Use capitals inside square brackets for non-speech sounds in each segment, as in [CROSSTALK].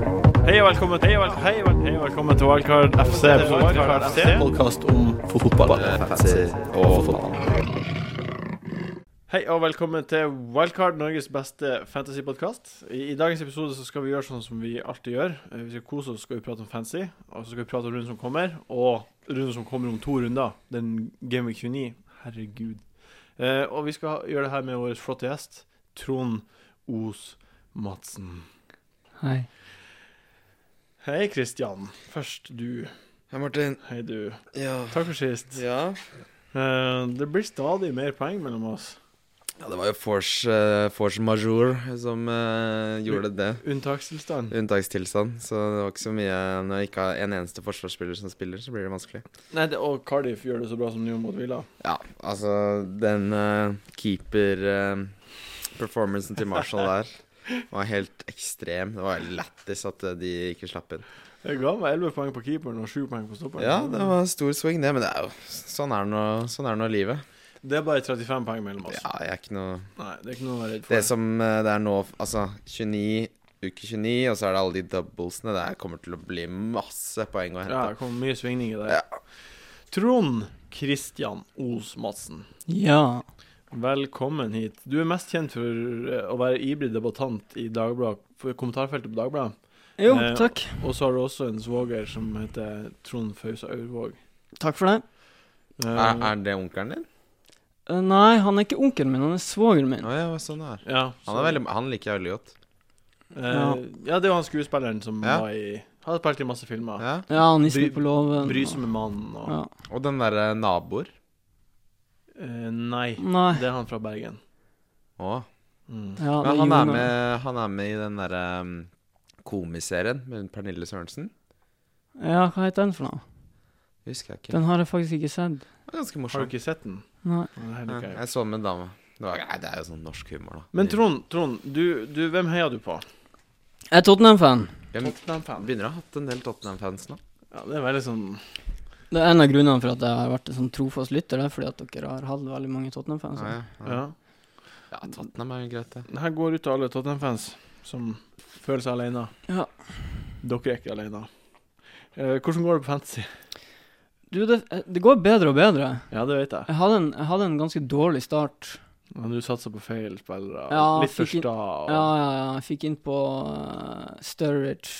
og velkommen til vel- Hei, vel- hei, og velkommen til Wildcard FC. Wildcard FC. podkast om fotball. og fotball. Hei og velkommen til Wildcard, Norges beste fantasypodkast. I, I dagens episode så skal vi gjøre sånn som vi alltid gjør. Eh, Vi skal kose oss, skal vi prate om fantasy, og så skal vi prate om runden som kommer, og runden som kommer om to runder. Den Game Week 29. Herregud. Eh, og vi skal gjøre det her med vår flotte gjest, Trond Os Madsen. Hei. Hei, Kristian. Først du. Hei, Martin. Hei, du. Ja. Takk for sist. ja. Eh, det blir stadig mer poeng mellom oss. det var jo force, eh, force majeure som eh, gjorde det. Unntakstilstand. Unntakstilstand. Så det var ikke så mye Når jeg ikke har en eneste forsvarsspiller som spiller, så blir det vanskelig. Nei, det, og Cardiff gjør det så bra som de gjorde mot Villa. Ja, altså Den eh, keeper-performancen til Marshall der var helt ekstrem. Det var lættis at eh, de ikke slapp inn. Jeg ga meg 11 poeng på keeperen og 7 poeng på stopperen. Ja, det var stor swing, det. Men det er jo sånn er nå sånn er nå livet. Det er bare 35 poeng mellom oss. Ja, jeg er ikke noe Nei, det er ikke noe å være redd for. Det som eh, det er nå, altså 29, uke 29, og så er det alle de doublesene. Det her kommer til å bli masse poeng å ja, hente. det kom mye svingninger der. Trond Kristian Os Madsen, Ja. velkommen hit. Du er mest kjent for eh, å være ivrig debattant i Dagbladet, for kommentarfeltet på Dagbladet. Jo, Eh, takk. Og så har du også en svoger som heter Trond Fausa Aurvåg. Takk for det. Eh, Er, er det onkelen din? Eh, Nei, han er ikke onkelen min, han er svogeren Å min. ja, hva sånn det er. ja, Han, er veldig, han liker jeg veldig godt. Eh, Ja. ja, det er jo han skuespilleren som Ja. var i Hadde spilt i masse filmer. Ja. Ja, nissen Bry- på låven. Brysomme med mannen og Ja. Og den derre naboer. Eh, Nei, Nei. det er han fra Bergen. Å. Mm. Ja, det Men han er, Jonas. med, han er med i den derre um, komiserien med Pernille Sørensen. Ja, hva heter den for noe? Husker jeg ikke. Den har jeg faktisk ikke sett. Det var ganske Har du morsom. ikke sett den? Nei. Nei, det er Ja, ikke jeg. jeg så den med en dame. Det, var, nei, det er jo sånn norsk humor, da. Men Trond, Trond du, du, hvem heier du på? Jeg er Tottenham-fan. Hvem- Tottenham-fan. Begynner å ha hatt en del Tottenham-fans nå. Ja, det er veldig sånn Det er en av grunnene for at jeg har vært en sånn trofast lytter, det er fordi at dere har hatt veldig mange Tottenham-fans. Ja, ja. Altså. Ja. ja, Tottenham er jo greit, det. Det her går ut til alle Tottenham-fans som føler seg alene. Ja. Dere er ikke alene. Eh, hvordan går det på fantasy? Du, det, eh, det går bedre og bedre. Ja, det vet jeg. Jeg hadde en, jeg hadde en ganske dårlig start. Men du satser på feil spillere. Ja, litt for fikk inn- sta. og- Ja, ja, ja. Jeg fikk inn på eh, Sturridge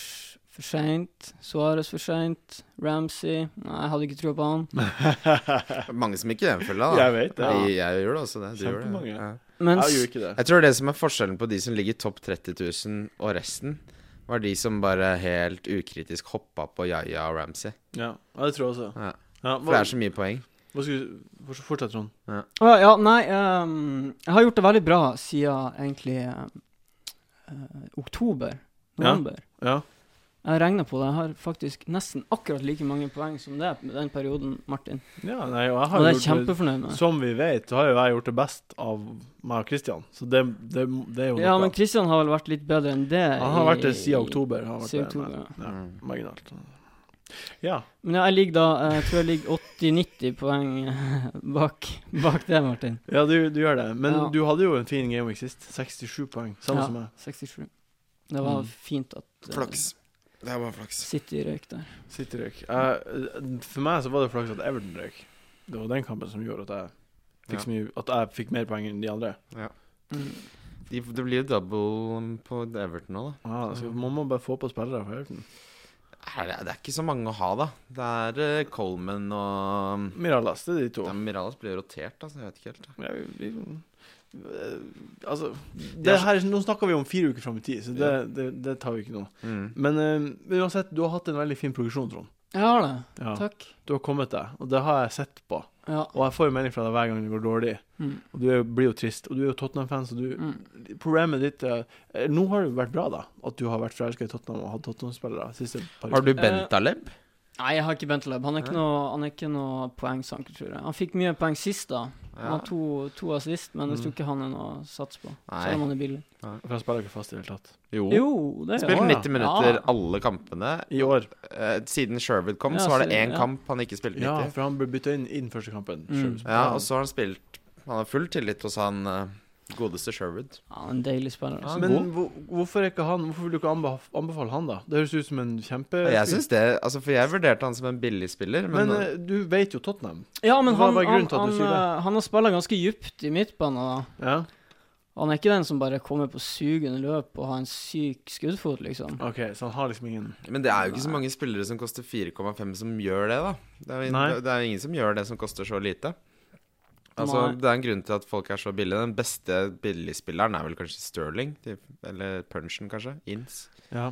for seint. Suarez for seint. Ramsey Nei, jeg hadde ikke trua på han. Mange som ikke følger det, [LAUGHS] da. Jeg vet det. Jeg, jeg gjør det også, det. Du gjør det. Kjempemange. Ja. Mens Jeg gjorde ikke det. Jeg tror det som er forskjellen på de som ligger topp 30 000 og resten, var de som bare helt ukritisk hoppa på Yaya og Ramsey. Ja, ja det tror jeg også. Ja. Ja, For det hva, er så mye poeng. hva skulle du Fortsett, Trond. Å, ja, nei, ehm, jeg har gjort det veldig bra siden egentlig ehm, eh, oktober. Ja. November. Ja. Jeg har regna på det. Jeg har faktisk nesten akkurat like mange poeng som det med den perioden, Martin. Ja, nei, og jeg Og har det er jeg gjort det kjempefornøyd med. Som vi vet, så har jo jeg gjort det best av meg og Christian, så det, det, det er jo noe. Ja, men Kristian har vel vært litt bedre enn det. han har vært det i- siden oktober. han har vært siden det, oktober, ja. men- ja. Mm. Marginalt. Ja. Men ja, jeg ligger da eh, Jeg tror jeg ligger 80-90 poeng eh, bak, bak det, Martin. Ja, du, du gjør det. Men Ja. du hadde jo en fin gameweek sist. 67 poeng, samme Ja. som meg. 67. Det var Mm. fint at eh, Det er bare flaks. City røyk der. City røyk. Jeg- for meg så var det flaks at Everton røyk. Det var den kampen som gjorde at jeg fikk, så mye, at jeg fikk mer poeng enn de andre. Mm. De, det blir jo double på Everton nå, da. Ja, Ah, så man må bare få på spillere fra Everton. Er Det det er ikke så mange å ha, da. Det er eh, Coleman og Miralas, det er de to. ja, Miralas blir rotert, altså. Jeg vet ikke helt. Ja, vi, vi, eh, altså Ja, det her, Nå snakker vi om fire uker fram i tid, så det, Ja. det, det tar vi ikke nå. Mm. Men eh, uansett, du har hatt en veldig fin progresjon, Trond. Jeg har det. Ja. Takk. Du har kommet deg, og det har jeg sett på. Ja. Og jeg får jo melding fra deg hver gang det går dårlig, Mm. og du er, blir jo trist. Og du er jo Tottenham-fan, så du Mm. Programmet ditt eh, eh, Nå har det jo vært bra, da, at du har vært forelska i Tottenham og hatt Tottenham-spillere siste par Har du Eh, Bentaleb? Nei, jeg har ikke Benteleb. Han er ikke noe, han er ikke noe poengsanker, tror jeg. Han fikk mye poeng sist, da. Han Ja. har to, to assist, men jeg tror ikke han er noe å satse på. Nei. Selv om han er billig. For han spiller ikke fast i det hele tatt. Jo. Jo, det er Ja, Spilte ja. 90 minutter Ja. alle kampene. I år. Eh, siden Sherwood kom, Ja, så var det så- én ja. kamp han ikke spilte 90. Ja, for han ble bytta inn i den første kampen. Mm. Sjøl- Ja, og så har han spilt Han har full tillit hos han eh, Godeste Sherwood. Ja, en deilig spiller. Ja, Altså. men Men hvor, hvorfor er ikke han Hvorfor vil du ikke anbef anbefale han, da? Det høres ut som en kjempe... Og jeg syns det Altså, for jeg vurderte han som en billig spiller, men, Men eh, du vet jo Tottenham. Ja, men Hva han, var han, grunnen til at han, du sier det? eh, han har spilt ganske djupt i midtbanen. da. Ja, Han er ikke den som bare kommer på sugende løp og har en syk skuddfot, liksom. OK, så han har liksom ingen men det er jo ikke så mange spillere som koster 4,5 som gjør det, da. Det er, Nei. jo, det er jo ingen som gjør det som koster så lite. Altså, Nei. Det er en grunn til at folk er så billige. Den beste billigspilleren er vel kanskje Sterling. De, eller Punchen, kanskje. Inns. Ja,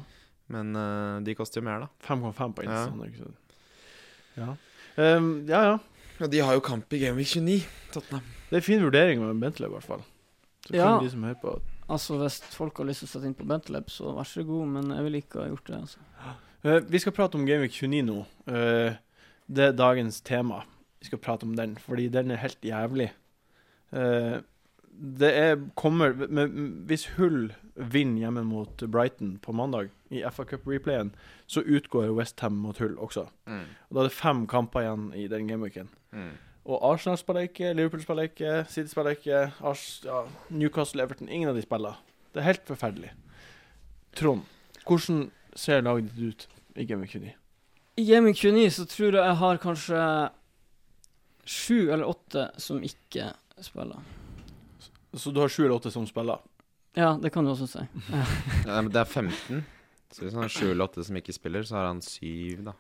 Men eh, de koster jo mer, da. 5,5 på Ja. Insta. Ja. Ikke sant? Ja. Ehm, ja, ja. Og de har jo kamp i Gameweek 29, Tottenham. Det er fin vurdering av en Bentley, i hvert fall. Så kan Ja. de som hører på Altså, hvis folk har lyst til å sette inn på Benteleb, så vær så god, men jeg ville ikke ha gjort det. altså. Eh, Vi skal prate om Gameweek 29 nå. Eh, det er dagens tema. Vi skal prate om den, fordi den er helt jævlig. Eh, det er kommer men Hvis Hull vinner hjemme mot Brighton på mandag i FA Cup-replayen, så utgår Westham mot Hull også. Mm. Og Da er det fem kamper igjen i den gameweeken. Mm. Og Arsenal spiller ikke, Liverpool spiller ikke, City spiller ikke, Ars ja, Newcastle, Everton Ingen av de spiller. Det er helt forferdelig. Trond, hvordan ser laget ditt ut i Game Week 29? I Gaming 29 så tror jeg jeg har kanskje sju eller åtte som ikke spiller. Så du har sju eller åtte som spiller? Ja, det kan du også si. Ja, men det er 15. Så hvis han har 7 eller 8 som ikke spiller, så har han 7, da.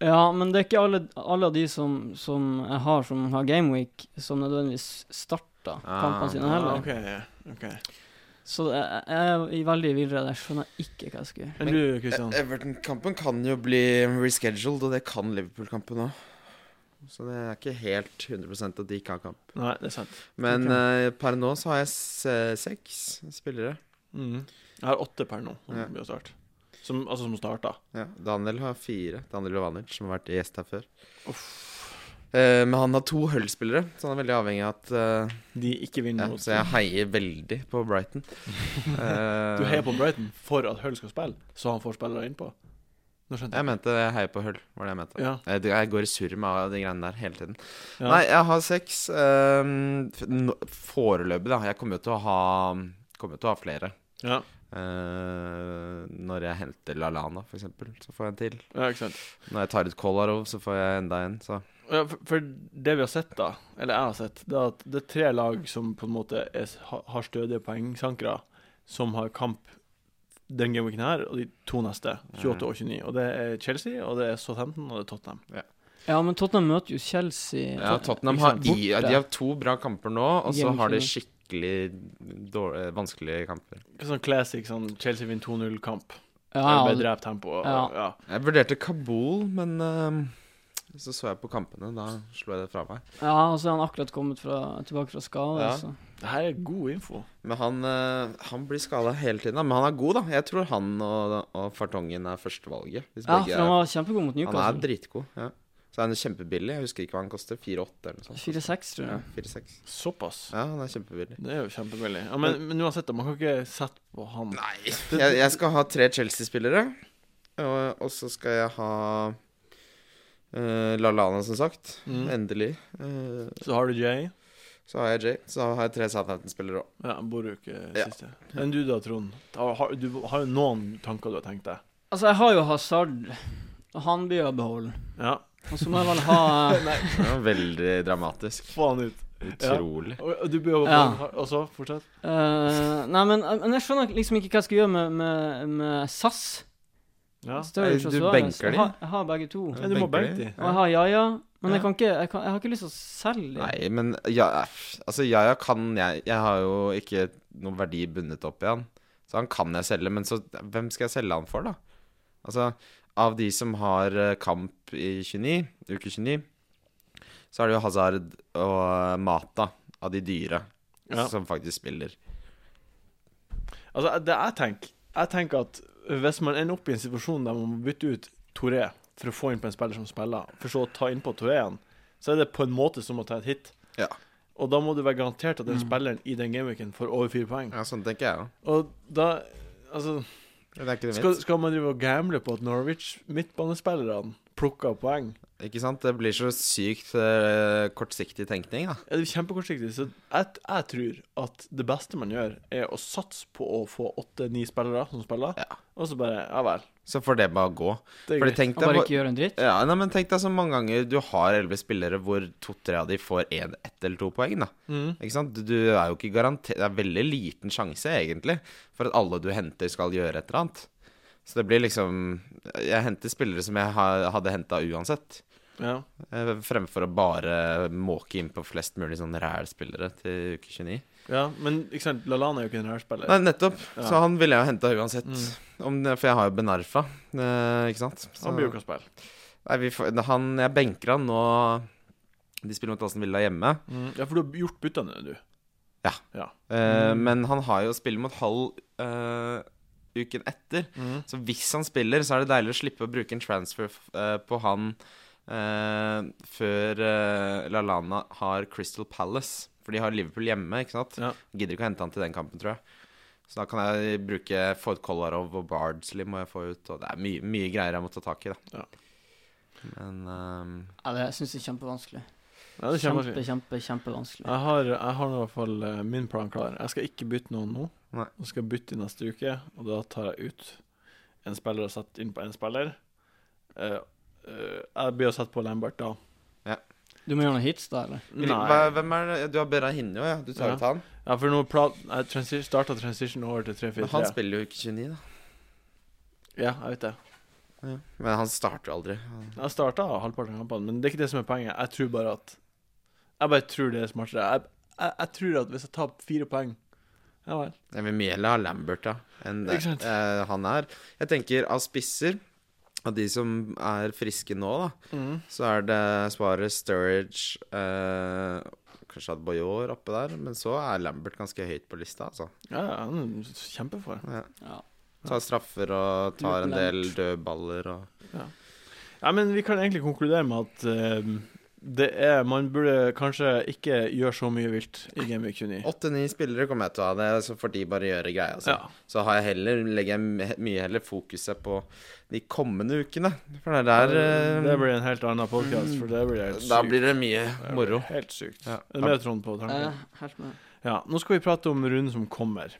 Ja, men det er ikke alle, alle av de som, som jeg har som har Gameweek, som nødvendigvis starter Ah, kampene sine ah, heller. ok Så jeg, jeg er i veldig villrede. Jeg skjønner ikke hva jeg skal gjøre. Enn du, eh, Kristian? E- Everton-kampen kan jo bli rescheduled, og det kan Liverpool-kampen òg. Så det er ikke helt 100 at de ikke har kamp. Nei, det er sant. Men Ok. eh, per nå så har jeg s- seks spillere. Mhm. Jeg har åtte per nå, som Ja. blir å starte. Som, altså som starta. Ja, Daniel har fire. Daniel Jovanic, som har vært gjest her før. Uff. Eh, men han har to Hull-spillere, så han er veldig avhengig av at eh, De ikke vinner ja, mot Så jeg heier veldig [LAUGHS] på Brighton. Eh, Du heier på Brighton for at Hull skal spille, så han får spillere innpå? Nå skjønte Jeg mente jeg heier på Hull, var Eh, det jeg mente. Ja. Jeg, jeg går i surr med de greiene der hele tiden. Ja. Nei, jeg har seks. ehm, f- nå- foreløpig, da. Jeg kommer jo til å ha, kommer jo til å ha flere. Ja. Eh, når jeg henter Lalana, for eksempel, så får jeg en til. ja, ikke sant. Når jeg tar ut Kolarov, så får jeg enda en. Så Ja, for, for det vi har sett, da, eller jeg har sett, det er at det er tre lag som på en måte er, ha- har stødige poengsankere, som har kamp den gameweeken her og de to neste, 28 og 29. Og det er Chelsea, og det er Southampton og det er Tottenham. Ja, men Tottenham møter jo Chelsea. ja, Tot- Tottenham har, Borte. i, de har to bra kamper nå, og så har de skikkelig dårlig, vanskelige kamper. Ikke Sånn classic sånn Chelsea vinner 2-0-kamp. Ja, Ja, ja, Drept tempo. Og, Ja. ja. Jeg vurderte Kabul, men ehm, så så jeg på kampene. Da slo jeg det fra meg. ja, og så er han akkurat kommet fra, tilbake fra skade. Ja. Så. Det her er god info. Men han, eh, han blir skada hele tiden, da. men han er god, da. Jeg tror han og, og Fartongen er førstevalget. Hvis ja, begge for han var altså. kjempegod mot er, han er Newcastle. dritgod. Ja. Så han er kjempebillig. Jeg husker ikke hva han koster. 4-8 eller noe sånt. 4-6, tror Ja, jeg. 4-6. Såpass. Ja, han er kjempebillig. Det er jo kjempebillig. Ja, men, men uansett, da, man kan ikke sette på han. Nei. Jeg, jeg skal ha tre Chelsea-spillere, og, og så skal jeg ha eh, Lallana, som sagt. Mm. Endelig. Eh, Så har du Jay. så har jeg Jay. Så har jeg tre Southampton-spillere òg. Ja, Boruk eh, Ja. siste. Enn du da, Trond? Har, har, du har jo noen tanker du har tenkt deg? Altså, jeg har jo Hazard, og han blir jo beholden. Ja. Og så må jeg vel ha [LAUGHS] eh, Nei, Veldig dramatisk. få han ut. Utrolig. Og, og du bør jobbe Ja. på den. Og så, fortsett. eh, Nei, men, men jeg skjønner liksom ikke hva jeg skal gjøre med, med, med SAS. Ja. Sturridge og Du Suarez. benker Jeg de? har, jeg har begge to. Ja, du må Benker benke de. Og jeg har Jaja, men Ja. jeg kan ikke jeg, kan, jeg har ikke lyst til å selge dem. Nei, men ja, f- altså, ja, ja, kan jeg Jeg har jo ikke noen verdi bundet opp i han. Så han kan jeg selge, men så hvem skal jeg selge han for, da? Altså, av de som har eh, kamp i 29, uke 29, så er det jo Hazard og eh, Mata av de dyre Ja. som faktisk spiller. Altså, det jeg tenker Jeg tenker at hvis man ender opp i en situasjon der man må bytte ut Toré for å få inn på en spiller som spiller, for så å ta innpå Toré igjen, så er det på en måte som å ta et hit. Ja. Og da må du være garantert at den Mm. spilleren i den gameweeken får over fire poeng. Ja, sånn tenker jeg òg. Og da Altså, Det er ikke noe skal, vits. skal man drive og gamble på at Norwich, midtbanespillerne plukka poeng. Ikke sant? Det blir så sykt eh, kortsiktig tenkning, da. Ja, det er kjempekortsiktig. Så jeg, jeg tror at det beste man gjør, er å satse på å få åtte-ni spillere som spiller, Ja. og så bare Ja vel. Så får det bare gå. Det er Fordi greit. Og tenk deg, bare hvor- ikke gjøre en dritt. ja, nei, men tenk deg så mange ganger du har elleve spillere hvor to-tre av de får en, ett eller to poeng. da Mhm. Ikke sant? Du- Du er jo ikke garantert Det er veldig liten sjanse, egentlig, for at alle du henter, skal gjøre et eller annet. Så det blir liksom Jeg henter spillere som jeg ha- hadde henta uansett. Ja. eh, Fremfor å bare måke inn på flest mulig sånn ræl-spillere til uke 29. ja. Men ikke sant, Lalana er jo ikke en rærspiller. Nei, nettopp. Ja. Så han ville jeg jo henta uansett. Mm. Om, det- for jeg har jo Benarfa, eh, ikke sant? Så, Han blir jo ikke å spille. Nei, vi får, han, jeg benker han nå. De spiller mot Aston Villa hjemme. Ja, for du har gjort byttene, du. Eh, Mm. Men han har jo spillet mot halv eh, uken etter. Mhm. Så hvis han spiller, så er det deilig å slippe å bruke en transfer eh, på han eh, før eh, Lalana har Crystal Palace. For de har Liverpool hjemme, ikke sant? Ja. Gidder ikke å hente han til den kampen, tror jeg. Så da kan jeg bruke Ford Kolarov og Bardsley må jeg få ut, og det er mye, mye greier jeg må ta tak i, da. Ja. Men ehm, Ja, det syns jeg er kjempevanskelig. Ja, det er kjempe, Kjempe, kjempe, kjempevanskelig. Jeg har, jeg har nå i hvert fall eh, min plan klar. Jeg skal ikke bytte noen nå. Nei. Jeg skal bytte i neste uke, og da tar jeg ut en spiller og setter inn på en spiller. Eh, eh, jeg blir å sette på Lambert da. Du må gjøre noen hits da, eller? Nei. hva, Hvem er det? Du har Berahino, ja. Du tar Ja. ut han. Ja, for nå plat, jeg transi starta transition over til Men han 3-4-3. spiller jo ikke 29, da. Ja, jeg vet det. Ja. Men han starter jo aldri. Jeg starta halvparten av kampene, men det er ikke det som er poenget. Jeg tror bare at Jeg bare tror det er smartere. Jeg, jeg, jeg tror at hvis jeg tar fire poeng Ja vel. Jeg vil mye heller ha Lambert da, enn det Ikke sant? eh, han er. Jeg tenker av spisser, av de som er friske nå, da, så er det Suarez, Sturridge eh, Kanskje at Boyor oppe der, men så er Lambert ganske høyt på lista, altså. Ja, ja, han er kjempefor. Ja. Ja. Tar straffer og tar en del Lambert. dødballer og Ja, men vi kan egentlig konkludere med at eh, det er Man burde kanskje ikke gjøre så mye vilt i Game Week 29. Åtte-ni spillere kommer jeg til å ha, det, så får de bare gjøre greia altså. si. Ja. Så har jeg heller, legger jeg my- mye heller fokuset på de kommende ukene, for det er der det eh, blir en helt annen podkast, for det blir helt sykt. Da blir det mye Det blir moro. Helt sykt. Ja. Er det mer Trond på tanken? Eh, helt med. Ja, nå skal vi prate om runden som kommer.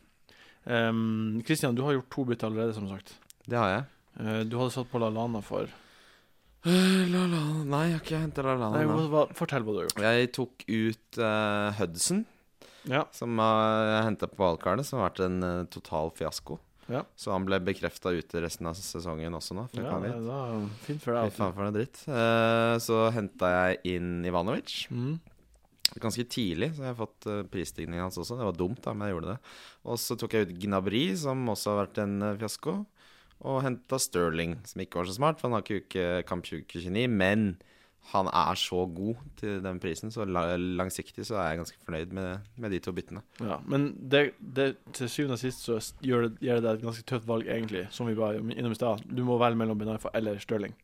Kristian, Christian, du har gjort to bytter allerede, som sagt. Det har jeg. [SIGHS] Eh, du hadde satt på Lallana for Øh, La la Nei, jeg har ikke henta La La Nei, hva, nå. hva, Fortell hva du har gjort. Jeg tok ut eh, Hudson, Ja. som eh, jeg henta på valgkartet, som har vært en eh, total fiasko. Ja. Så han ble bekrefta ute resten av sesongen også nå. før Ja, han det hit. da, fint for Fy deg. altså. faen for noe dritt. Eh, så henta jeg inn Ivanovic Mm. ganske tidlig, så jeg har fått eh, prisstigningen hans også. Det var dumt, da, men jeg gjorde det. Og så tok jeg ut Gnabry, som også har vært en eh, fiasko. Og henta Sterling, som ikke var så smart, for han har ikke uke, kamp 2029. Men han er så god til den prisen, så la, langsiktig så er jeg ganske fornøyd med, med de to byttene. Ja, men det, det, til syvende og sist så s- gjør det, gjør det deg et ganske tøft valg, egentlig, som vi var innom i stad. Du må velge mellom Benarfa eller Stirling.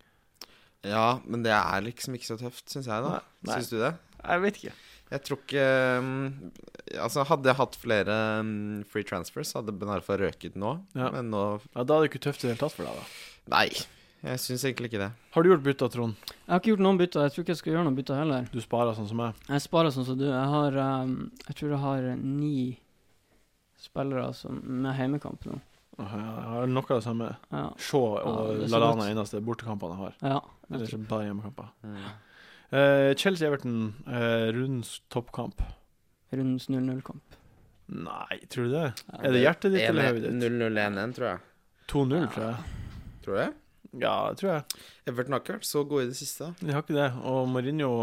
Ja, men det er liksom ikke så tøft, syns jeg, da. Nei, nei. Syns du det? Jeg vet ikke. Jeg tror ikke um, Altså, hadde jeg hatt flere um, free transfers, hadde Benarfa røket nå. Ja. Men nå Ja, da er det ikke tøft i det hele tatt for deg, da. Nei, jeg syns egentlig ikke det. Har du gjort bytter, Trond? Jeg har ikke gjort noen bytter. Jeg tror ikke jeg skal gjøre noen bytter heller. Du sparer sånn som meg. Jeg sparer sånn som du. Jeg har ehm, Jeg tror jeg har ni spillere som, med heimekamp nå. Åh, Jeg har noe av det samme. Ja. Shaw Ja, og det er så Lallana godt. er eneste bortekampene jeg har. ja. Ellers er det bare hjemmekamper. Mm. Eh, Chelsea-Everton, eh, rundens toppkamp. Rundens 0-0-kamp. Nei, tror du det? Ja, Er det hjertet ditt eller 1-1, hodet ditt? 0-0-1-1, tror jeg. 2-0, tror jeg. Tror jeg. Ja, det tror jeg. Everton har ikke vært så gode i det siste. De har ikke det. Og Mourinho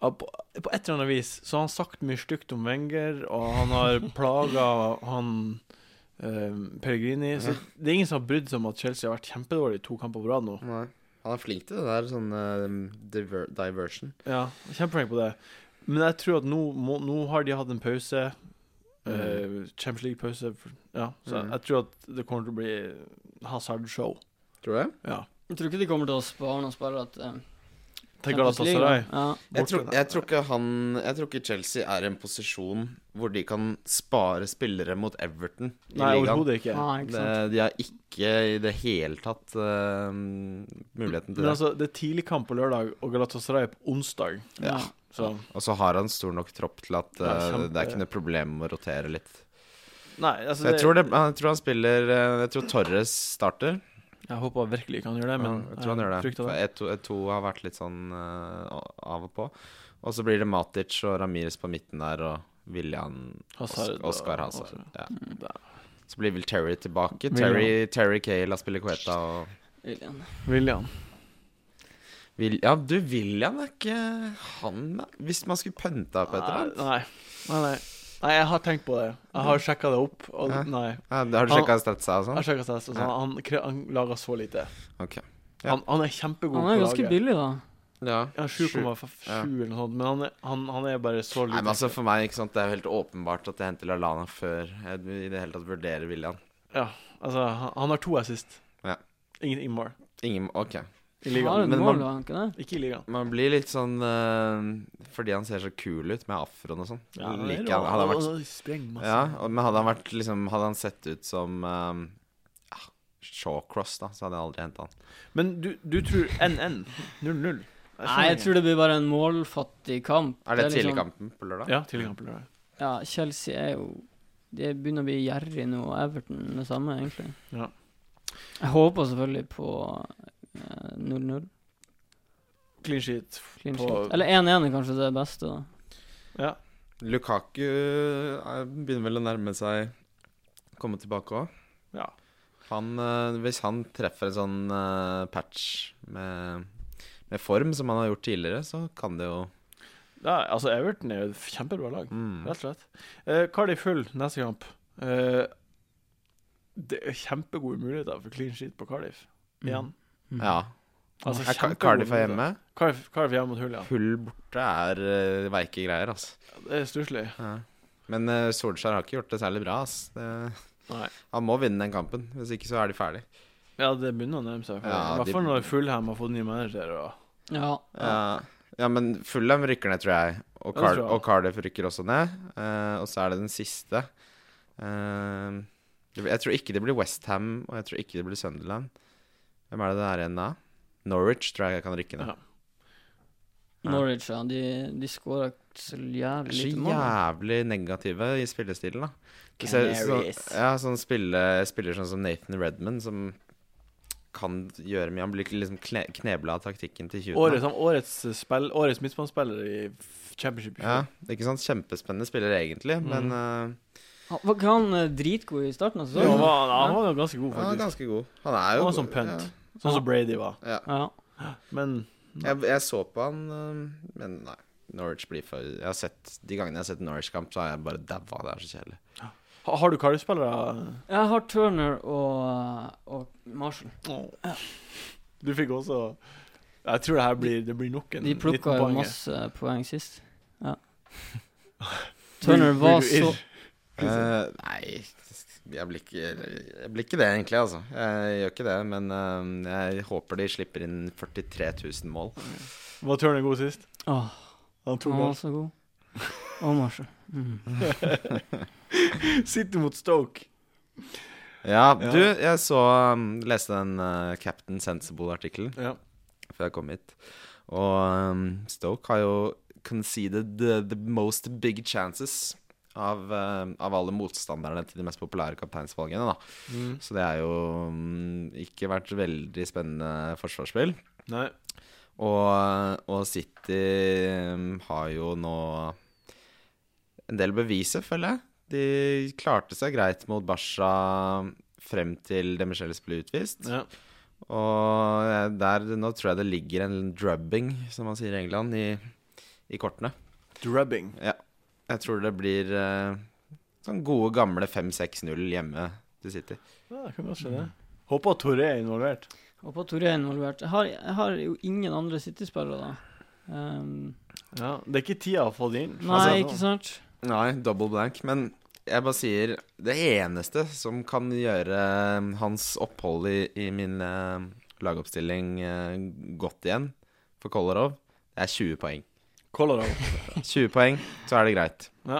ja, på, på et eller annet vis så har han sagt mye stygt om Wenger, og han [LAUGHS] har plaga han eh, Pellegrini. Så det er ingen som har brydd seg om at Chelsea har vært kjempedårlig i to kamper på rad nå. Nei. Han er flink til det der, sånn eh, diver diversion. Ja, Kjempeflink på det. Men jeg tror at nå, må, nå har de hatt en pause. eh, Champions League-pause. for- Ja, så Mm. jeg tror at det kommer til å bli Hazard-show. Tror du det? Ja. Jeg tror ikke de kommer til å spare noen spillere til, Til eh, Champions League, Galatasaray. da. Ja. Jeg tror, Borte der. jeg, tror ikke han, jeg tror ikke Chelsea er i en posisjon hvor de kan spare spillere mot Everton i Nei, ligaen. overhodet ikke. Ah, ikke Det, sant. de har ikke i det hele tatt eh, muligheten til Men det. altså, det er tidlig kamp på lørdag, og Galatasaray er på onsdag. Ja. Så Og så har han stor nok tropp til at Ja, eh, kjempe- det er ikke noe problem med å rotere litt. Nei, altså Jeg tror, det, jeg tror han spiller eh, Jeg tror Torres starter. Jeg håper virkelig ikke han gjør det, men eh, jeg tror han gjør det. frykter For det. E2, E2 har vært litt sånn eh, av og på. Og så blir det Matic og Ramirez på midten der, og William Hazard Oscar, Oscar og- Hazard. Ja. Da. Så blir vel Terry tilbake. William. Terry, Terry Cale har spiller Coeta og William. William. Vil, Ja, du, William er ikke han da? Hvis man skulle pønta på et eller Nei, annet? nei. nei, nei. Nei, jeg har tenkt på det. Jeg har sjekka det opp. Og, Hæ? nei. Ja, har du Han- sjekka statsa og Jeg har sånn? sjekket stats, og sånn. han, kre- han lager så lite. Ok. Ja. Han, han er kjempegod Han er på ganske laget. billig, da. Ja. Ja, 7,7 Ja. eller noe sånt, men han er, han, han er bare så Nei, liten. men altså For meg ikke sant, det er jo helt åpenbart at jeg henter Lallana før jeg i det hele tatt vurderer William. ja, altså, han, han har to assist. Ja. Ingen, ingen mål Ingen, ok i Han har ligaen. et men mål, man- da, han ikke det? Ikke i ligaen. Man blir litt sånn eh, Fordi han ser så kul ut med afroen og sånn. Ja, han er liker rå, han, hadde han vært, og sprenger masse. ja, og- Men hadde han vært liksom Hadde han sett ut som um, Shawcross, da, så hadde jeg aldri henta han. Men du, du tror NN 0-0? Nei, jeg tror det blir bare en målfattig kamp. Er det, liksom- tidligkampen på lørdag? sånn- Ja, tidlig kamp. eller noe. Ja, Chelsea er jo De begynner å bli gjerrig nå, og Everton det samme, egentlig. Ja. Jeg håper selvfølgelig på eh, 0-0. Clean sheet. clean På- sheet. Eller 1-1 er kanskje det beste, da. Ja. Lukaku eh, begynner vel å nærme seg komme tilbake òg. ja. Han, eh, hvis han treffer en sånn eh, patch med, med form som han har gjort tidligere, så kan det jo Ja, altså Everton er jo et kjempebra lag, mm. rett og slett. Eh, Cardiff full neste kamp. Eh, det er kjempegode muligheter for clean sheet på Cardiff Mm. igjen. Ja. Altså, Er Ka- kjempegode Cardiff er muligheter. hjemme. Cardiff, Cardiff hjemme mot Hull, ja. Hull borte er eh, veike greier, altså. Det er stusslig. Ja. Men eh, Solskjær har ikke gjort det særlig bra, ass. Det, Nei. han må vinne den kampen, hvis ikke så er de ferdig. Ja, det begynner å nærme seg. I Ja, hvert de- fall når Fulham har fått ny manager. Og... Ja. Ja, Eh, ja men Fulham rykker ned, tror jeg. Og, Ja, det Car tror jeg. og Cardiff rykker også ned. Eh, og så er det den siste. Eh, det blir- jeg tror ikke det blir Westham, og jeg tror ikke det blir Sunderland. Hvem er det det er igjen da? Norwich tror jeg kan rykke ned. Ja. Ja. Norwich, ja. De, de skårer så De jævlig er så lite mål. jævlig negative i spillestilen, da. Du ser så, Canaries. ja, sånn spille, spiller sånn som Nathan Redman, som kan gjøre mye. Han blir liksom kne knebla av taktikken til 20. Årets, han, årets, spill, årets midtbanespiller i f- championship. i Ja, fjor. det er ikke sant? Kjempespennende spiller, Mm. egentlig, men eh, Han- Var ikke han eh, dritgod i starten av Så han sesongen? var, han var jo ganske god, Han er faktisk. ganske god. Han er jo Han var som punt. Sånn som Brady var. Ja. ja. Ja. Men Mm. Jeg, jeg så på han, øhm, men nei. Norwich blir for jeg har sett, De gangene jeg har sett Norwich-kamp, så har jeg bare daua. Det er så kjedelig. ha- har du Cardiff-spillere? Jeg har Turner og, og Marshall. Du fikk også Jeg tror det her blir, det blir nok en De 19 plukka jo poeng. masse poeng sist. Ja. Blir- Turner var blir du så irr? Eh, nei, jeg blir, ikke, jeg blir ikke det, egentlig. altså Jeg gjør ikke det, men øhm, jeg håper de slipper inn 43 000 mål. Var Turner god sist? Åh, Han tok han var [LAUGHS] mål. så god. Og Marshall. Mm. City mot Stoke. Ja, Ja. du, jeg så øhm, Leste den øh, Captain Sensible-artikkelen Ja. før jeg kom hit. Og øhm, Stoke har jo conceded the, the most big chances av, øhm, av alle motstanderne til de mest populære kapteinsvalgene, da. Mm. Så det er jo mm, ikke vært veldig spennende forsvarsspill. Nei. Og, og City mm, har jo nå en del beviser, føler jeg. De klarte seg greit mot Barca frem til De Michelis ble utvist. Ja. Og eh, der, nå tror jeg det ligger en drubbing, som man sier i England, i, i kortene. Drubbing. Jeg tror det blir eh, sånn gode gamle 5-6-0 hjemme til City. Ja, det kan godt skje, det. Mm. Håper at Torre er involvert. Håper Toré er involvert. Jeg har, jeg har jo ingen andre City-spillere, da. Ehm, Ja. Det er ikke tida å få det inn. Altså, nei, ikke sant? Nei, double blank. Men jeg bare sier det eneste som kan gjøre eh, hans opphold i, i min eh, lagoppstilling eh, godt igjen for Kolarov, Det er 20 poeng. Colorado. 20 poeng, så er det greit. Ja.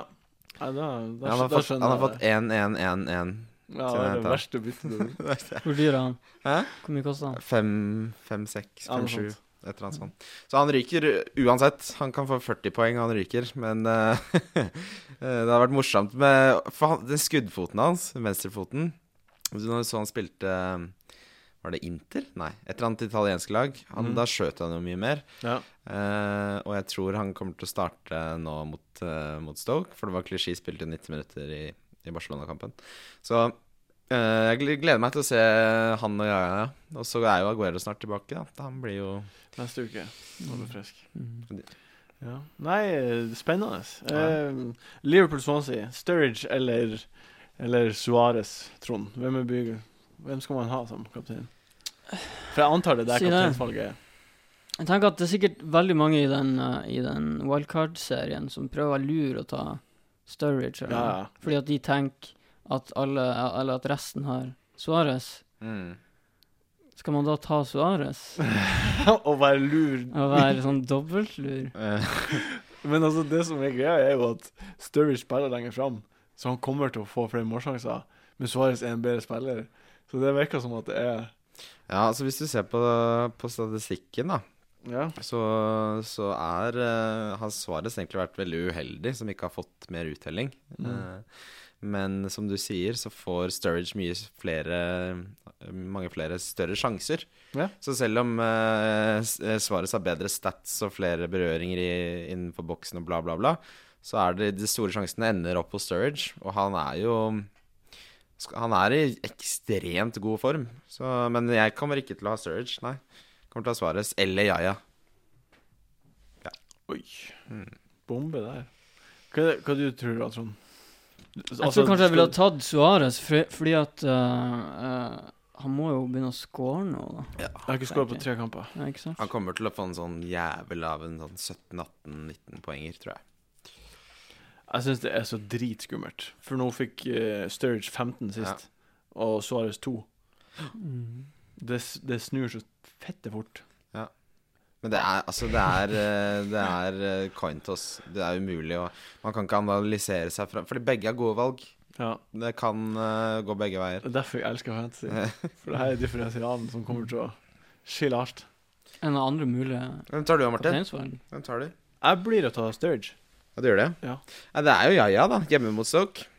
Nei, da, da, Han har da fått, han har fått 1-1-1-1. Ja, det er det Tjena, verste byttet du [LAUGHS] har Hvor dyr er han? Hæ? Hvor mye koster han? 5-6, Ja, noe 5-7. sånt. Et eller annet sånt. Så han ryker uansett. Han kan få 40 poeng, han ryker, men eh, [LAUGHS] Det har vært morsomt med For han, den skuddfoten hans, venstrefoten Når så han spilte Var det Inter? Nei, et eller annet italiensk lag. Han, Mhm. Da skjøt han jo mye mer. Ja. Eh, og jeg tror han kommer til å starte nå mot, eh, mot Stoke, for det var klisjé spilt i 90 minutter i, i Barcelona-kampen. Så eh, jeg gl- gleder meg til å se han og Jaja. Og så er jo Aguero snart tilbake. Da. Han blir jo Neste uke. Nå er du frisk. Mm. Ja. Nei, spennende. Eh, Liverpool Swansea. Sturridge eller, eller Suárez, Trond? Hvem er bygger? Hvem skal man ha som kaptein? For jeg antar det er der Si det. kapteinsvalget er. Jeg tenker at det er sikkert veldig mange i den, eh, i den wildcard-serien som prøver å lure å ta Sturridge, eller Ja, noe. ja. fordi at de tenker at, alle, eller at resten har Suárez. Skal man da ta Suárez [LAUGHS] Å være lur. og være sånn dobbeltlur? Eh, [LAUGHS] Men altså, det som er greia, er jo at Sturridge spiller lenger fram, så han kommer til å få flere målsjanser. Men Suárez er en bedre spiller, så det virker som at det er ja, altså hvis du ser på, på statistikken, da, Ja. så, så er eh, Har Suárez egentlig vært veldig uheldig, som ikke har fått mer uttelling. Mm. Eh, men som du sier, så får Sturridge mye flere mange flere større sjanser. Ja. Så selv om eh, S- eh, Suárez har bedre stats og flere berøringer i, innenfor boksen og bla, bla, bla, så er det de store sjansene ender opp hos Sturridge, og han er jo sk- han er i ekstremt god form, så, men jeg kommer ikke til å ha Sturridge, nei. Jeg Kommer til å ha Suárez eller Yaya. Oi. Bombe der. Hva, er det- hva du tror du da, Trond? Altså, Jeg tror kanskje jeg ville ha tatt Suárez, fordi at eh, eh, han må jo begynne å score nå, da. Jeg har ikke skåret på tre kamper. Ja, ikke sant? Han kommer til å få en sånn jævel av en sånn 17-18-19 poenger, tror jeg. Jeg syns det er så dritskummelt. For nå fikk eh, Sturridge 15 sist, og Suárez 2. Mm. Det, s- det snur så fette fort. Men det er, altså det er, eh, det er eh, coin toss. Det er umulig å Man kan ikke analysere seg fra Fordi begge er gode valg. Ja. Det kan eh, gå begge veier. Det er derfor jeg elsker fantasy. [LAUGHS] For det her er differensialen som kommer til å skille hardt. En av andre mulige Hvem tar du, Martin? kapteinsvalg. Hvem tar du? Jeg blir å ta Sturridge. Ja, du gjør det? Ja. Nei, det er jo Jaja, da. Hjemme mot Stoke.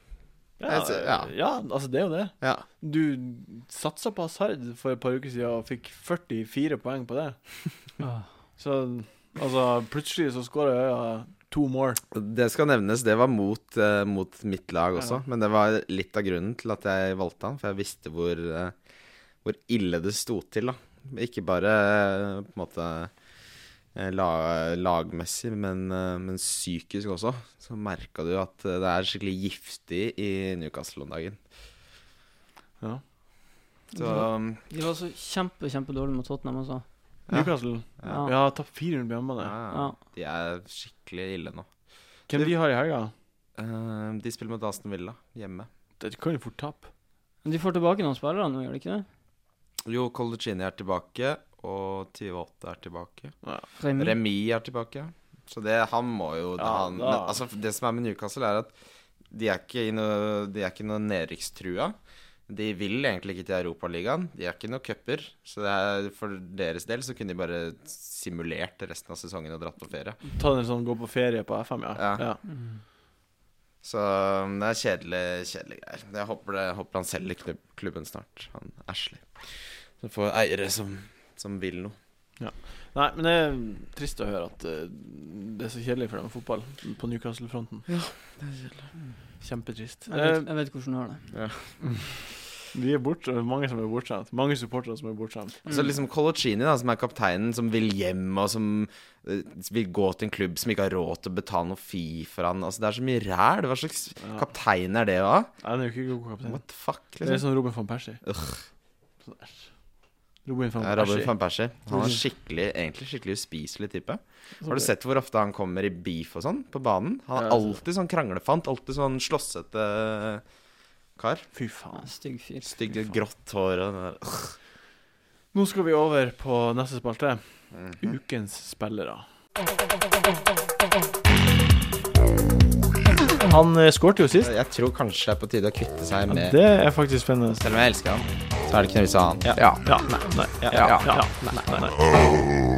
Ja, Jeg ser- ja. ja, altså, det er jo det. Ja. Du satsa på Hazard for et par uker siden og fikk 44 poeng på det. Ah. Så altså, plutselig så skåra Øya to mål. Det skal nevnes, det var mot, eh, mot mitt lag også. Ja. Men det var litt av grunnen til at jeg valgte han, for jeg visste hvor, eh, hvor ille det sto til, da. Ikke bare eh, på en måte eh, la, lagmessig, men, eh, men psykisk også. Så merka du at eh, det er skikkelig giftig i Newcastle om dagen. Ja. Så um, De var så kjempe, kjempedårlige mot Tottenham altså. også. Newcastle ja, ja, tapt 400 på hjemmebane. ja, Ja. De er skikkelig ille nå. Hvem de har i helga? Eh, de spiller mot Aston Villa hjemme. Det kan jo fort tape. Men de får tilbake noen spillere nå, gjør de ikke det? Jo, Coloccini er tilbake, og 28 er tilbake. Remi. Remi er tilbake. Så det, han må jo Mm. Ja, han, da- men, altså, Det som er med Newcastle, er at de er ikke, i noe, de er ikke noe nedrykkstrua. De vil egentlig ikke til Europaligaen. De er ikke noe cuper. Så det er, for deres del så kunne de bare simulert resten av sesongen og dratt på ferie. Ta en sånn gå på ferie på FM, ja. Ja. ja. Så um, det er kjedelig, kjedelige greier. Jeg håper, det, håper han selger klubb, klubben snart, han Ashley. Så får eiere som, som vil noe. Nei, men det er trist å høre at eh, det er så kjedelig for dem med fotball på Newcastle-fronten. Ja, Kjempetrist. Jeg vet, Eh, jeg vet hvordan du har det. vi er bort, og mange som er bortskjemt. Mange supportere som er bortskjemt. Så liksom Colocini, da, som er kapteinen, som vil hjem, og som eh, vil gå til en klubb som ikke har råd til å betale noe fee for han. Altså, det er så mye ræl. Hva slags Ja. kaptein er det, da? Nei, det er jo ikke god kaptein. What the fuck, Det er liksom? sånn Robin van Persie. Sånn, æsj. Robin van Ja, Robin Persie. van Persie. Han er skikkelig, egentlig skikkelig uspiselig type. Har du sett hvor ofte han kommer i beef og sånn på banen? Han Ja, altså. jeg er har sett alltid sånn kranglefant, alltid sånn slåssete kar. Fy Ja, faen. stygg fyr. Stygg grått hår og den der. Nå skal vi over på neste spalte. Mhm. Ukens spillere. Han eh, skårte jo sist. Jeg tror kanskje det er på tide å kvitte seg Ja, med det er faktisk spennende. Selv om jeg elsker han, så er det ikke noe vits å ha han. Ja. Ja. Nei. Nei. Ja. Ja. Ja. Ja. Nei. Nei.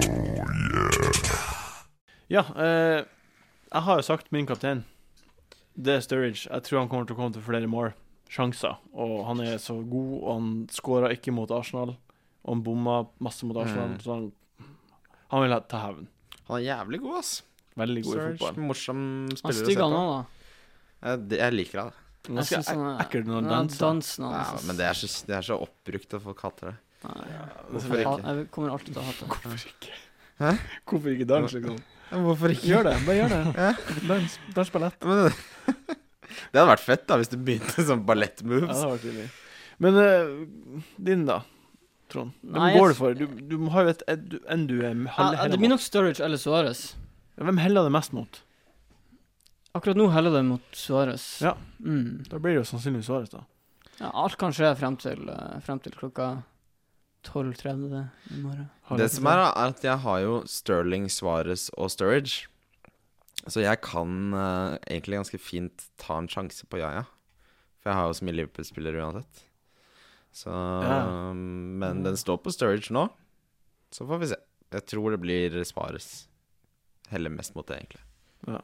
Ja, eh, jeg har jo sagt min kaptein. Det er Sturridge. Jeg tror han kommer til å komme til flere mål. Sjanser. Og han er så god, og han skåra ikke mot Arsenal. Og han bomma masse mot Arsenal, Mm. så han, han vil ha- ta hevn. Han er jævlig god, ass. Veldig god i Sturridge, fotball. Morsom Han spiller å se stygger han på. òg, da. Jeg, det- jeg liker han. Han er synes Ganske ek- ekkel når han den der danser. dansen Ja, hans, ass. men det er, så, det er så oppbrukt, og folk hater det. Nei, Hvorfor jeg, ikke? ha- jeg kommer alltid til å hate det. Hvorfor ikke? Hæ? Hvorfor ikke dans, liksom? Hvorfor [LAUGHS] Gjør det, bare gjør det. Dans, dans ballett. Men, [LAUGHS] det hadde vært fett da hvis du begynte sånn Ja, ballettmoves. det var tidlig. Men eh, din, da, Trond? Hvem Nei, jeg- går du for? Du, du har jo et, et du- en du er Ja, heller, det blir nok Sturridge eller Suárez. Hvem heller det mest mot? Akkurat nå heller det mot Suárez. Ja. Mm. Da blir det jo sannsynligvis Suárez, da. ja. Alt kan skje frem til, eh, frem til klokka 12.30 i morgen. Har Det jeg- som er, da, er at jeg har jo Sterling, Suarez og Sturridge. Så jeg kan eh, egentlig ganske fint ta en sjanse på Yaya. For jeg har jo så mye Liverpool-spillere uansett. Så um, Ja. Men den står på Sturridge nå. Så får vi se. Jeg tror det blir Suarez. Heller mest mot det, egentlig.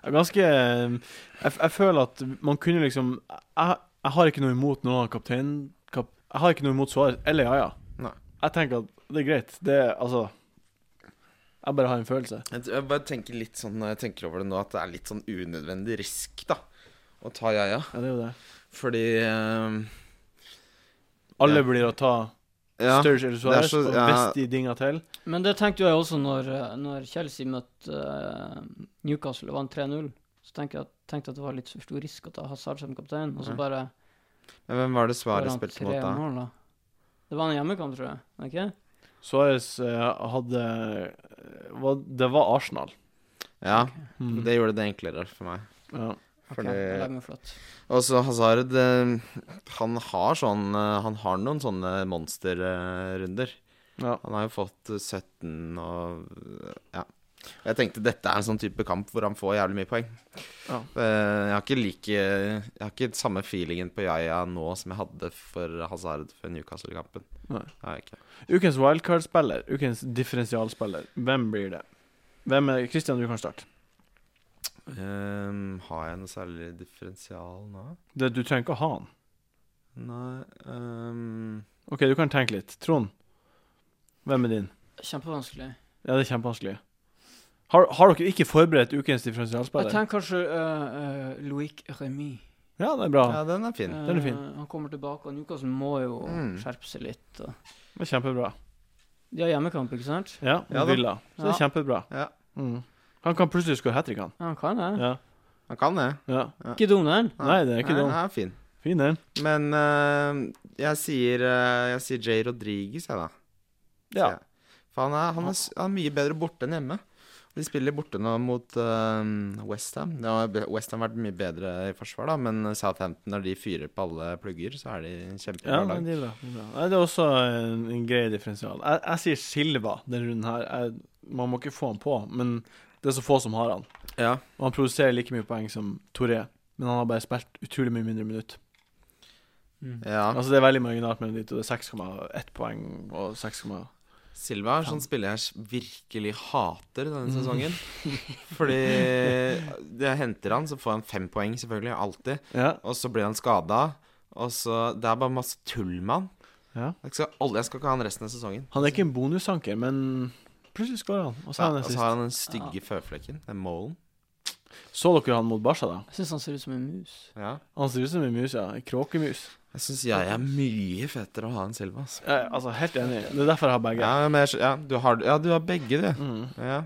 Jeg er ganske eh, jeg, jeg føler at man kunne liksom Jeg, jeg har ikke noe imot noen av kapteinen kap, Jeg har ikke noe imot Suárez eller Jaja. Nei. Jeg tenker at det er greit. Det er altså Jeg bare har en følelse. Jeg, jeg bare tenker litt sånn når jeg tenker over det nå, at det er litt sånn unødvendig risk, da. Å ta Yaya. Ja, det er jo det. Fordi eh, Alle Ja. blir å ta ja. Sturridge eller er Suárez, så- og ja. hvis de dinger til Men det tenkte jo jeg også når, eh, når Chelsea møtte eh, Newcastle og vant 3-0. Så tenkte jeg at, tenkte at det var litt for stor risk å ta Hazard som kaptein, og så Ja. bare Men Hvem var det skårer Suarez han spilte mot tre da? mål, da. Det var en hjemmekamp, tror jeg. Ikke? Suárez eh, hadde eh, var, Det var Arsenal. Ja, Mm. det gjorde det enklere for meg. ja. Ok, Fordi- jeg legger meg flatt. Og så Hazard eh, Han har sånn eh, Han har noen sånne monsterrunder. ja. Han har jo fått eh, 17 og eh, Ja. Jeg tenkte dette er en sånn type kamp hvor han får jævlig mye poeng. Ja. Eh, Jeg har ikke like Jeg har ikke samme feelingen på Yaya nå som jeg hadde for Hazard før Newcastle-kampen. Nei. Det har jeg ikke. Ukens wildcard-spiller, ukens differensialspiller, hvem blir det? Hvem er Christian, du kan starte. Eh, har jeg noe særlig differensial nå? Det, du trenger ikke å ha han. Nei ehm, OK, du kan tenke litt. Trond, hvem er din? Kjempevanskelig. Ja, det er kjempevanskelig. Har, har dere ikke forberedt ukens Jeg differensialspiller? tenker kanskje eh, eh, Loic Remy. Ja, det er bra. Ja, den er fin. Den er fin. Eh, han kommer tilbake, og Newcastle må jo Mm. skjerpe seg litt. Og. Det er kjempebra. De har hjemmekamp, ikke sant? Ja, Ja da. Villa. Så det er Ja. kjempebra. Ja, Mm. Han kan plutselig skåre hat trick, han. Ja, han kan det. Ja. han kan det. ja. Ikke dum, den. Nei, det er ikke Nei, dum. den er fin. Fin, den. Men eh, jeg sier eh, Jeg sier Jay Rodriguez, jeg, da. sier Ja. jeg. For han er, han, er, s- han er mye bedre borte enn hjemme. De spiller borte nå mot eh, West Westham. Westham har vært mye bedre i forsvar, da, men Southampton, når de fyrer på alle plugger, så er de kjempebra Ja, men lag. det er bra. Det er, bra. Nei, det er også en, en grei differensial. Jeg, jeg sier Silva denne runden her. Jeg, man må ikke få han på, men det er så få som har han. Ja. Og han produserer like mye poeng som Toré, men han har bare spilt utrolig mye mindre minutt. Mm. ja. Altså Det er veldig marginalt mellom de to. Det er 6,1 poeng og 6, Silva er sånn spiller jeg virkelig hater Mm. denne [LAUGHS] sesongen. Fordi eh, jeg henter han, så får han fem poeng, selvfølgelig. Alltid. ja. Og så blir han skada. Og så Det er bare masse tull med han. Ja. Jeg skal, aldri, jeg skal ikke ha han resten av sesongen. Han er ikke en bonusanker, men plutselig skårer han. Og så Ja, er han og så sist. har han den stygge føflekken, den molen. Så dere han mot Barca, da? Jeg syns han ser ut som en mus. Ja. Han ser ut som en mus, ja. En kråkemus. Jeg syns jeg er mye fetere å ha enn Silva. Altså. Jeg, altså, helt enig. Det er derfor jeg har begge. Ja, men jeg, skj- ja, du har, ja, du har begge, du. Mm. Ja.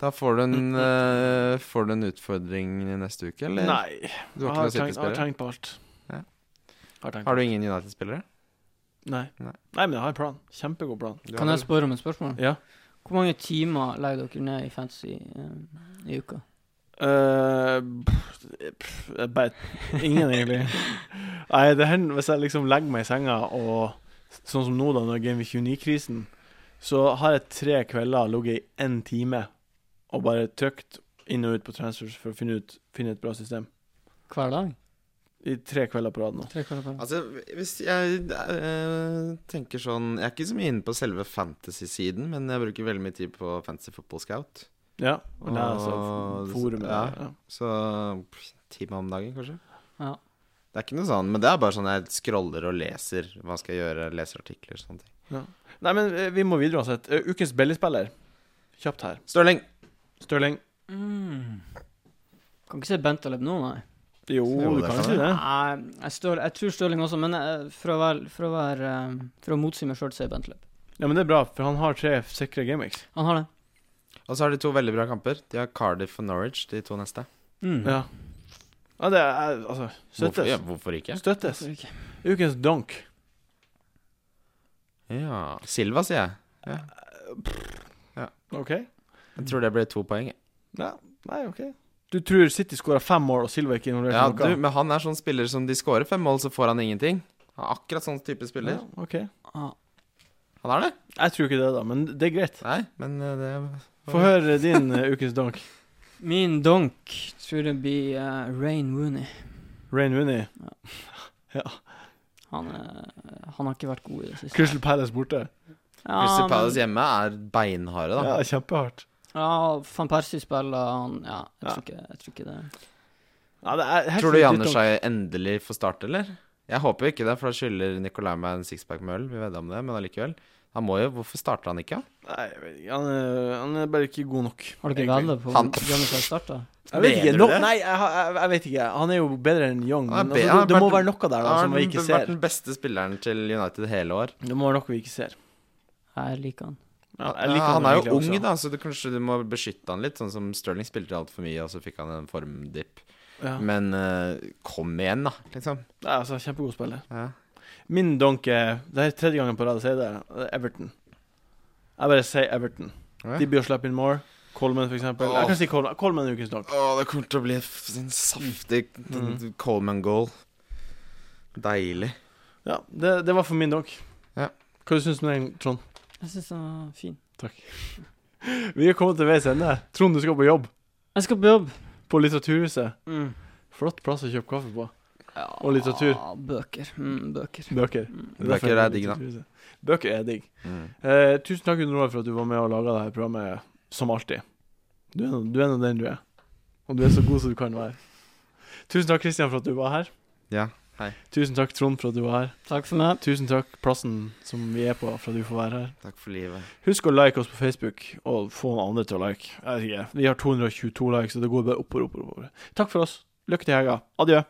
Da får du en eh, Får du en utfordring i neste uke, eller? Nei. Ah, Du Jeg tenkt- jeg har ikke noen har City-spillere? tenkt på alt. Ja. Har tenkt på Har du ingen United-spillere? Nei. Nei. Nei. men jeg har en plan. Kjempegod plan. Du Kan har jeg spørre om et spørsmål? Ja. Hvor mange timer legger dere ned i fantasy eh, i uka? Eh, pff, pff, jeg bare Ingen, egentlig. Nei, det hender hvis jeg liksom legger meg i senga og Sånn som nå, da, når Game Week 29-krisen, Så har jeg tre kvelder ligget i én time og bare trykt inn og ut på transfers for å finne, ut, finne et bra system. Hver dag? I tre kvelder på rad nå. Tre kvelder på rad. Altså, hvis jeg eh, tenker sånn Jeg er ikke så mye inne på selve fantasy-siden, men jeg bruker veldig mye tid på Fantasy Football Scout. Ja. Og altså lese Åh, forumet. ja. Ja. Så pff, time om dagen, kanskje. Ja. Det er ikke noe sånn, men det er bare sånn jeg scroller og leser hva skal jeg gjøre, leser artikler og sånne ting. Nei, men eh, vi må videre uansett. Eh, Ukens billigspiller. Kjapt her. Stirling! Stirling. Mm. Kan ikke se Bentaleb nå, nei. Jo, Jo, du det kan kan si det. Nei, jeg, støl, jeg tror Stirling også, men eh, for å være, for å, være, eh, for å motsi meg sjøl, sier Bentaleb. Ja, men det er bra, for han har tre sikre gameweeks. Han har det. Og så har de to veldig bra kamper. De har Cardiff og Norwich, de to neste. Mm. Ja. ja, det er Altså, Hvorfor, ja, støttes. hvorfor ikke? Støttes. Hvorfor ikke? Ukens donk. Ja Silva, sier jeg. OK? Jeg tror det blir to poeng. jeg. Ja. Nei, OK. Du tror City skåra fem mål, og Silva er ikke involvert? i Ja, noe? du, men han er sånn spiller som de scorer fem mål, så får han ingenting. Han er akkurat sånn type spiller. Ja, ok. Ah, Han er det. Jeg tror ikke det, da, men det er greit. Nei, men eh, det Få høre din eh, ukens donk. Min donk tror det blir eh, Rain Rooney. Rain [LAUGHS] Rooney. Han, eh, han har ikke vært god i det siste. Crystal Palace borte. Ja, Crystal men- Palace hjemme er beinharde, da. Ja, kjempehardt. Ja, van Persie spiller han Ja, jeg tror, Ikke, jeg tror ikke det. Ja, det er helt Tror du legit Janne donk. Skei endelig får starte, eller? Jeg håper jo ikke det, for da skylder Nicolai meg en sixpack med øl. Vi vedder om det, men allikevel. Han må jo Hvorfor starter han ikke? Nei, jeg vet ikke. Han, er- han er bare ikke god nok. Har du ikke Egentlig. vedda på Han- Johnny Sahl starta? Jeg vet Mener ikke. du No, det? nei, jeg, har- jeg, jeg vet ikke. Han er jo bedre enn Young. Han er Men be- altså, det, han er det må vært- være noe der da, Han som vi ikke har vært ser. den beste spilleren til United hele år. Det må være noe vi ikke ser. Jeg liker han. Ja, jeg Ja, liker han er jo egentlig også. ung, da, så du, kanskje du må beskytte han litt. Sånn som Sterling spilte altfor mye, og så fikk han en formdipp. Ja. Men eh, kom igjen, da, liksom. Nei, altså, kjempegod spiller. Ja. Min donk er Det er tredje gangen på rad jeg sier det. det er Everton. Jeg bare sier Everton. Ja. De bør slappe inn more. Colman, for eksempel. Jeg kan si Coleman. Coleman er ukens donk. Å, det kommer til å bli f- en saftig Mm. Coleman goal. Deilig. Ja, det, det var for min donk. Ja. Hva syns du om den, Trond? Jeg syns han var fin. Takk. Vi er kommet til veis ende. Trond, du skal på jobb. Jeg skal på jobb. På Litteraturhuset. Mm. Flott plass å kjøpe kaffe på. Ja, Og litteratur. Bøker. Mm, bøker. Bøker. Mm. Det derfor Bøker er det digg, da. Litteraturhuset. Bøker er digg. Mm. Eh, tusen takk, Gunnar, Roar, for at du var med og laga dette programmet, som alltid. Du er nå- du er nå den du er. Og du er så god som du kan være. Tusen takk, Kristian, for at du var her. Ja, hei. Tusen takk, Trond, for at du var her. Takk for meg. Tusen takk, plassen som vi er på, for at du får være her. Takk for livet. Husk å like oss på Facebook, og få noen andre til å like. Jeg vet ikke. Vi har 222 likes, så det går bare oppover, oppover, oppover. Takk for oss. Lykke til i helga. Adjø.